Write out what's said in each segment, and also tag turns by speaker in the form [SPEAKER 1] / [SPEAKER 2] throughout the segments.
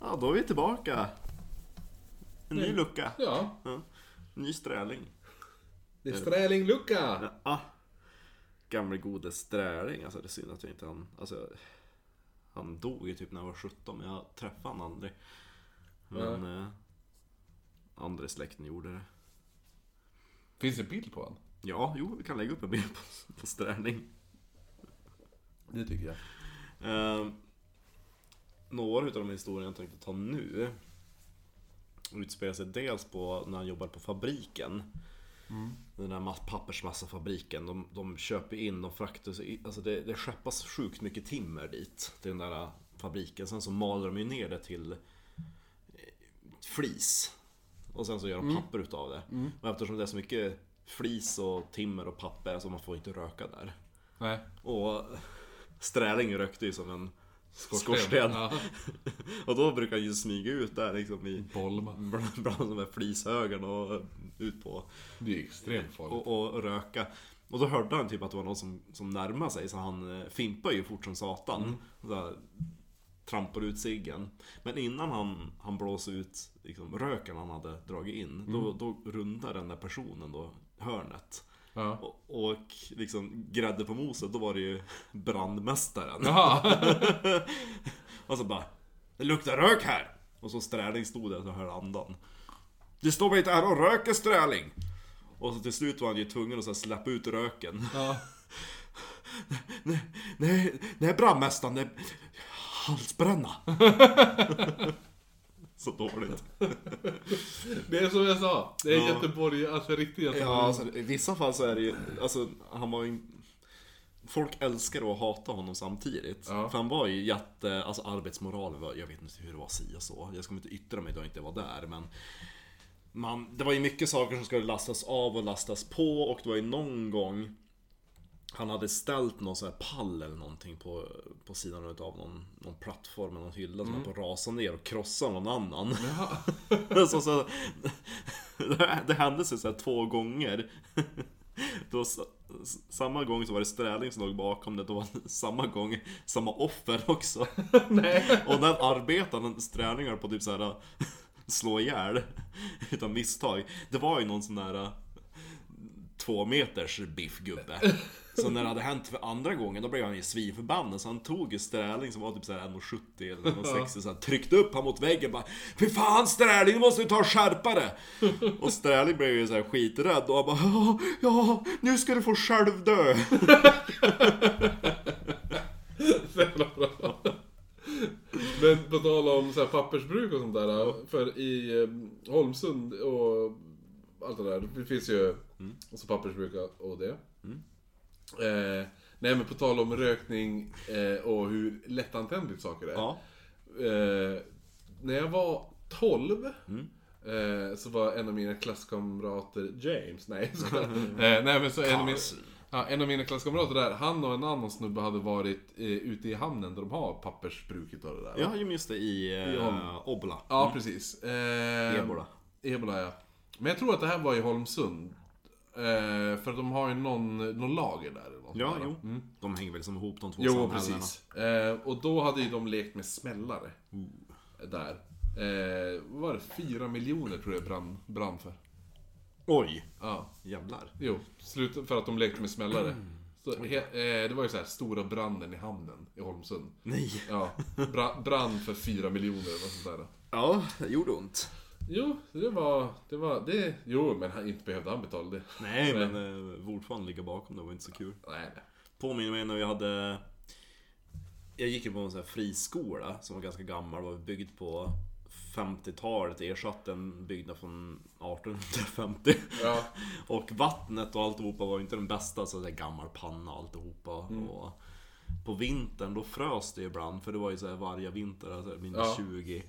[SPEAKER 1] Ja, då är vi tillbaka. En ny
[SPEAKER 2] Mm.
[SPEAKER 1] lucka.
[SPEAKER 2] Ja,
[SPEAKER 1] Ny sträling.
[SPEAKER 2] det är Sträling-lucka.
[SPEAKER 1] Ja. Ah. Gamle gode sträling. Alltså det är synd att jag inte han... Alltså, han dog ju typ när jag var 17, men jag träffade han aldrig. Men... Eh, andra släkten gjorde det.
[SPEAKER 2] Finns det bild på honom?
[SPEAKER 1] Ja, jo, vi kan lägga upp en bild på, på sträling.
[SPEAKER 2] Det tycker jag.
[SPEAKER 1] Eh, några utav de historier jag tänkte ta nu utspelar sig dels på när han jobbar på fabriken. Den där ma- pappersmassafabriken. De, de köper in, de fraktar sig- alltså det, det skeppas sjukt mycket timmer dit. Till den där fabriken. Sen så maler de ju ner det till eh, flis. Och sen så gör de papper utav det. Och eftersom det är så mycket flis och timmer och papper så man får inte röka där.
[SPEAKER 2] Nej.
[SPEAKER 1] Och Sträling rökte ju som en skorsten.
[SPEAKER 2] Ja.
[SPEAKER 1] Och då brukar han ju smyga ut där liksom i
[SPEAKER 2] Bolma.
[SPEAKER 1] bland, bland de här flishögarna och ut på
[SPEAKER 2] Det är extremt farligt.
[SPEAKER 1] och, och röka. Och då hörde han typ att det var någon som, som närmade sig så han eh, fimpade ju fort som satan. Så här, trampade ut ciggen. Men innan han, han blåste ut liksom, röken han hade dragit in, då, då rundade den där personen då hörnet.
[SPEAKER 2] Ja.
[SPEAKER 1] Och, och liksom grädde på moset, då var det ju brandmästaren.
[SPEAKER 2] Jaha.
[SPEAKER 1] Och så bara Det luktar rök här! Och så Sträling stod där och hörde andan Det står mig inte här och röker Sträling! Och så till slut var han ju tvungen att så här släppa ut röken
[SPEAKER 2] Ja.
[SPEAKER 1] Nej, nej, nej brandmästaren, det... Halsbränna! så dåligt
[SPEAKER 2] Det är som jag sa. Det är
[SPEAKER 1] Ja.
[SPEAKER 2] Göteborg, alltså riktigt Göteborg.
[SPEAKER 1] Ja, alltså, i vissa fall så är det ju, alltså han var ju Folk älskar och hatar honom samtidigt.
[SPEAKER 2] Ja.
[SPEAKER 1] För han var ju jätte, alltså arbetsmoralen var, jag vet inte hur det var si och så. Jag ska inte yttra mig då jag inte var där men man, Det var ju mycket saker som skulle lastas av och lastas på och det var ju någon gång Han hade ställt någon sån här pall eller någonting på, på sidan utav någon, någon plattform eller någon hylla som höll på att rasa ner och krossa någon annan.
[SPEAKER 2] Jaha.
[SPEAKER 1] Så, så, det hände sig så här två gånger. Då, s- s- samma gång så var det Sträling som låg bakom det, då var det samma gång samma offer också.
[SPEAKER 2] Nej.
[SPEAKER 1] Och den arbetaren Sträling höll på typ så här slå ihjäl utan misstag. Det var ju någon sån där två meters biffgubbe. Så när det hade hänt för andra gången då blev han ju svinförbannad så han tog ju Sträling som var typ såhär 1,70 eller 1,60 så han tryckte upp han mot väggen bara Fy fan Sträling, du måste ju ta och skärpa det! Och Sträling blev ju såhär skiträdd och han bara "Ja, Ja, nu ska du få själv dö!
[SPEAKER 2] Så jävla bra. Men på tal om så här pappersbruk och sånt där. För i eh, Holmsund och allt det där. Det finns ju
[SPEAKER 1] Mm.
[SPEAKER 2] alltså pappersbruk och det. Eh, nej men på tal om rökning eh, och hur lättantändligt saker är.
[SPEAKER 1] Ja,
[SPEAKER 2] Eh, när jag var 12
[SPEAKER 1] Mm.
[SPEAKER 2] eh, så var en av mina klasskamrater James, nej jag skojar. eh, Nej men så en av, mina,
[SPEAKER 1] Carlson.
[SPEAKER 2] ja, en av mina klasskamrater där, han och en annan snubbe hade varit eh, ute i hamnen där de har pappersbruket och det där.
[SPEAKER 1] ja just det i
[SPEAKER 2] Ja.
[SPEAKER 1] eh, Obla.
[SPEAKER 2] Ja, precis. Eh,
[SPEAKER 1] Ebola.
[SPEAKER 2] Ebola, ja. Men jag tror att det här var i Holmsund. Eh, för att de har ju någon, någon lager där. Eller något
[SPEAKER 1] Ja, Mm.
[SPEAKER 2] sånt där.
[SPEAKER 1] jo. De hänger väl som ihop de två
[SPEAKER 2] Jo,
[SPEAKER 1] samhällena.
[SPEAKER 2] precis. liksom, Eh, och då hade ju de lekt med smällare. Där. Eh, vad var det? Fyra miljoner tror jag brann, brann för.
[SPEAKER 1] Oj,
[SPEAKER 2] Ja,
[SPEAKER 1] jävlar.
[SPEAKER 2] jo. Slut för att de lekte med smällare. Så, he, eh, det var ju så här, stora branden i hamnen i Holmsund.
[SPEAKER 1] Nej.
[SPEAKER 2] Ja, bra, brann för fyra miljoner eller något sånt där.
[SPEAKER 1] Ja, det gjorde ont.
[SPEAKER 2] Jo, det var... Det var det, jo, men han, inte behövde han betala det.
[SPEAKER 1] Nej, men eh, fortfarande ligga bakom det var inte så kul.
[SPEAKER 2] Nej, nej.
[SPEAKER 1] Påminner mig när jag hade... Jag gick ju på en sån här friskola som var ganska gammal och var byggd på 50-talet. Ersatte en byggnad från 1850.
[SPEAKER 2] Ja,
[SPEAKER 1] Och vattnet och alltihopa var ju inte den bästa, så det är gammal panna och alltihopa.
[SPEAKER 2] Mm.
[SPEAKER 1] Och på vintern då frös det ibland, för det var ju så här varje vinter, alltså minus
[SPEAKER 2] Ja.
[SPEAKER 1] 20.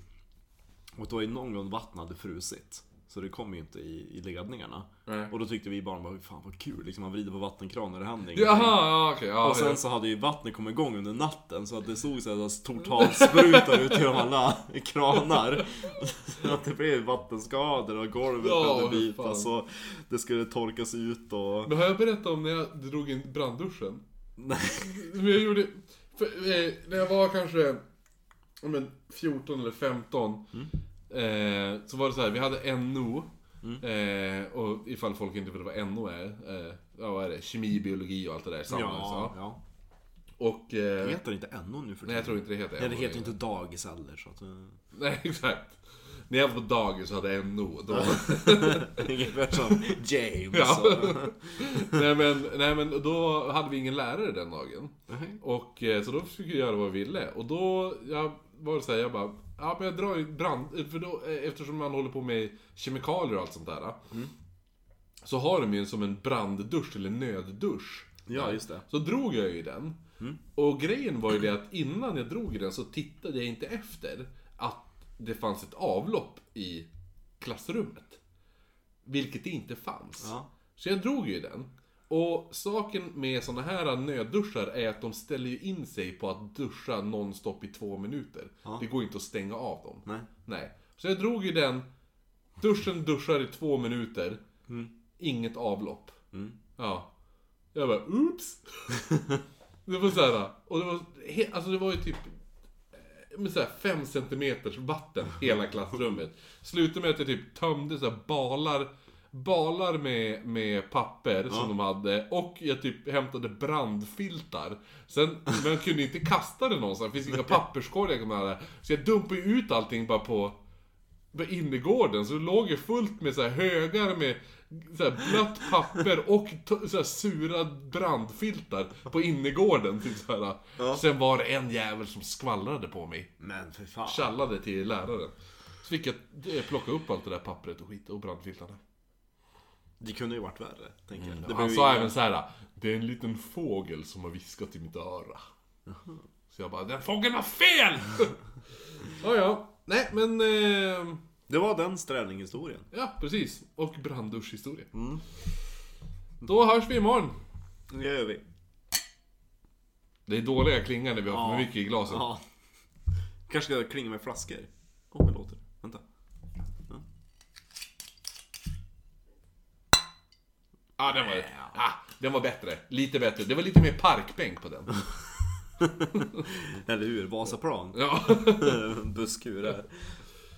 [SPEAKER 1] Och då var ju någon gång vattnet hade frusit. Så det kom ju inte i, i ledningarna.
[SPEAKER 2] nej.
[SPEAKER 1] Och då tyckte vi barn bara, fan vad kul, liksom man vrider på vattenkranen och det händer ingenting.
[SPEAKER 2] Jaha, ja, okej. ja,
[SPEAKER 1] Och sen
[SPEAKER 2] ja.
[SPEAKER 1] så hade ju vattnet kommit igång under natten så att det såg såhär tortalsprutar ut genom alla kranar. Så att det blev vattenskador och golvet
[SPEAKER 2] Ja,
[SPEAKER 1] började
[SPEAKER 2] hur
[SPEAKER 1] bita
[SPEAKER 2] fan.
[SPEAKER 1] så det skulle torkas ut och...
[SPEAKER 2] Men har jag berättat om när jag drog in brandduschen?
[SPEAKER 1] Nej.
[SPEAKER 2] Men jag gjorde... För, eh, när jag var kanske ja, men 14 eller 15
[SPEAKER 1] Mm.
[SPEAKER 2] eh, Så var det så här, vi hade NO
[SPEAKER 1] Mm.
[SPEAKER 2] eh, Och ifall folk inte vet vad NO är eh, Ja vad är det? Kemi, biologi och allt det där
[SPEAKER 1] Ja,
[SPEAKER 2] samma
[SPEAKER 1] ja.
[SPEAKER 2] ja. Och eh,
[SPEAKER 1] Heter det inte NO nu för
[SPEAKER 2] Nej jag tror inte det heter
[SPEAKER 1] Nej, det
[SPEAKER 2] NO
[SPEAKER 1] heter
[SPEAKER 2] längre.
[SPEAKER 1] inte dagis heller så att... eh,
[SPEAKER 2] Nej exakt När jag var på dagis hade jag NO då,
[SPEAKER 1] Ungefär som James
[SPEAKER 2] Ja.
[SPEAKER 1] och...
[SPEAKER 2] nej, men, nej men då hade vi ingen lärare den dagen
[SPEAKER 1] Nej.
[SPEAKER 2] Och eh, så då fick jag göra vad jag ville. Och då jag var det så här, jag bara, ja men jag drar ju brand... För då, eh, eftersom man håller på med kemikalier och allt sånt där. eh,
[SPEAKER 1] Mm.
[SPEAKER 2] Så har de ju som en branddusch eller nöddusch.
[SPEAKER 1] Ja, just det. Mm.
[SPEAKER 2] Så drog jag ju i den. Och grejen var ju det att innan jag drog i den så tittade jag inte efter att det fanns ett avlopp i klassrummet. Vilket det inte fanns.
[SPEAKER 1] Ja.
[SPEAKER 2] Så jag drog ju i den. Och saken med såna här nödduschar är att de ställer ju in sig på att duscha nonstop i två minuter.
[SPEAKER 1] Ja.
[SPEAKER 2] Det går inte att stänga av dem.
[SPEAKER 1] Nej.
[SPEAKER 2] Nej. Så jag drog ju den. Duschen duschar i två minuter.
[SPEAKER 1] Mm.
[SPEAKER 2] Inget avlopp.
[SPEAKER 1] Mm.
[SPEAKER 2] Ja. Jag bara, oops! det var såhär, och det var, he- alltså det var ju typ eh, men så här fem centimeters vatten hela klassrummet. Slutade med att jag typ tömde så här balar, balar med, med papper som de hade och jag typ hämtade brandfiltar. Sen, men jag kunde inte kasta det någonstans, det finns inga papperskorgar jag här. Så jag dumpade ju ut allting bara på på innergården så det låg ju fullt med så här högar med så här blött papper och t- så här sura brandfiltar på innergården. Typ så här. Sen var det en jävel som skvallrade på mig.
[SPEAKER 1] Men för fan.
[SPEAKER 2] Tjallade till läraren. Så fick jag eh, plocka upp allt det där pappret och skit och brandfiltarna.
[SPEAKER 1] Det kunde ju varit värre, tänker jag. Det
[SPEAKER 2] Han
[SPEAKER 1] blev
[SPEAKER 2] sa
[SPEAKER 1] ju-
[SPEAKER 2] Mm, alltså, även så här. Det är en liten fågel som har viskat i mitt öra. Så jag bara, den fågeln har fel! ja, ja. Nej, men... Eh...
[SPEAKER 1] Det var den strälninghistorien.
[SPEAKER 2] Ja, precis. Och brandduschhistoria.
[SPEAKER 1] Mm.
[SPEAKER 2] Då hörs vi imorgon.
[SPEAKER 1] Det gör vi.
[SPEAKER 2] Det är dåliga klingar när vi har
[SPEAKER 1] Ja.
[SPEAKER 2] för mycket i glasen.
[SPEAKER 1] Ja. Kanske ska jag klinga med flaskor. Åh, oh, det låter. Vänta.
[SPEAKER 2] Ah, den, var, ah, den var bättre. Lite bättre. Det var lite mer parkbänk på den.
[SPEAKER 1] Eller hur? Vasaplan.
[SPEAKER 2] Ja.
[SPEAKER 1] Busskur här.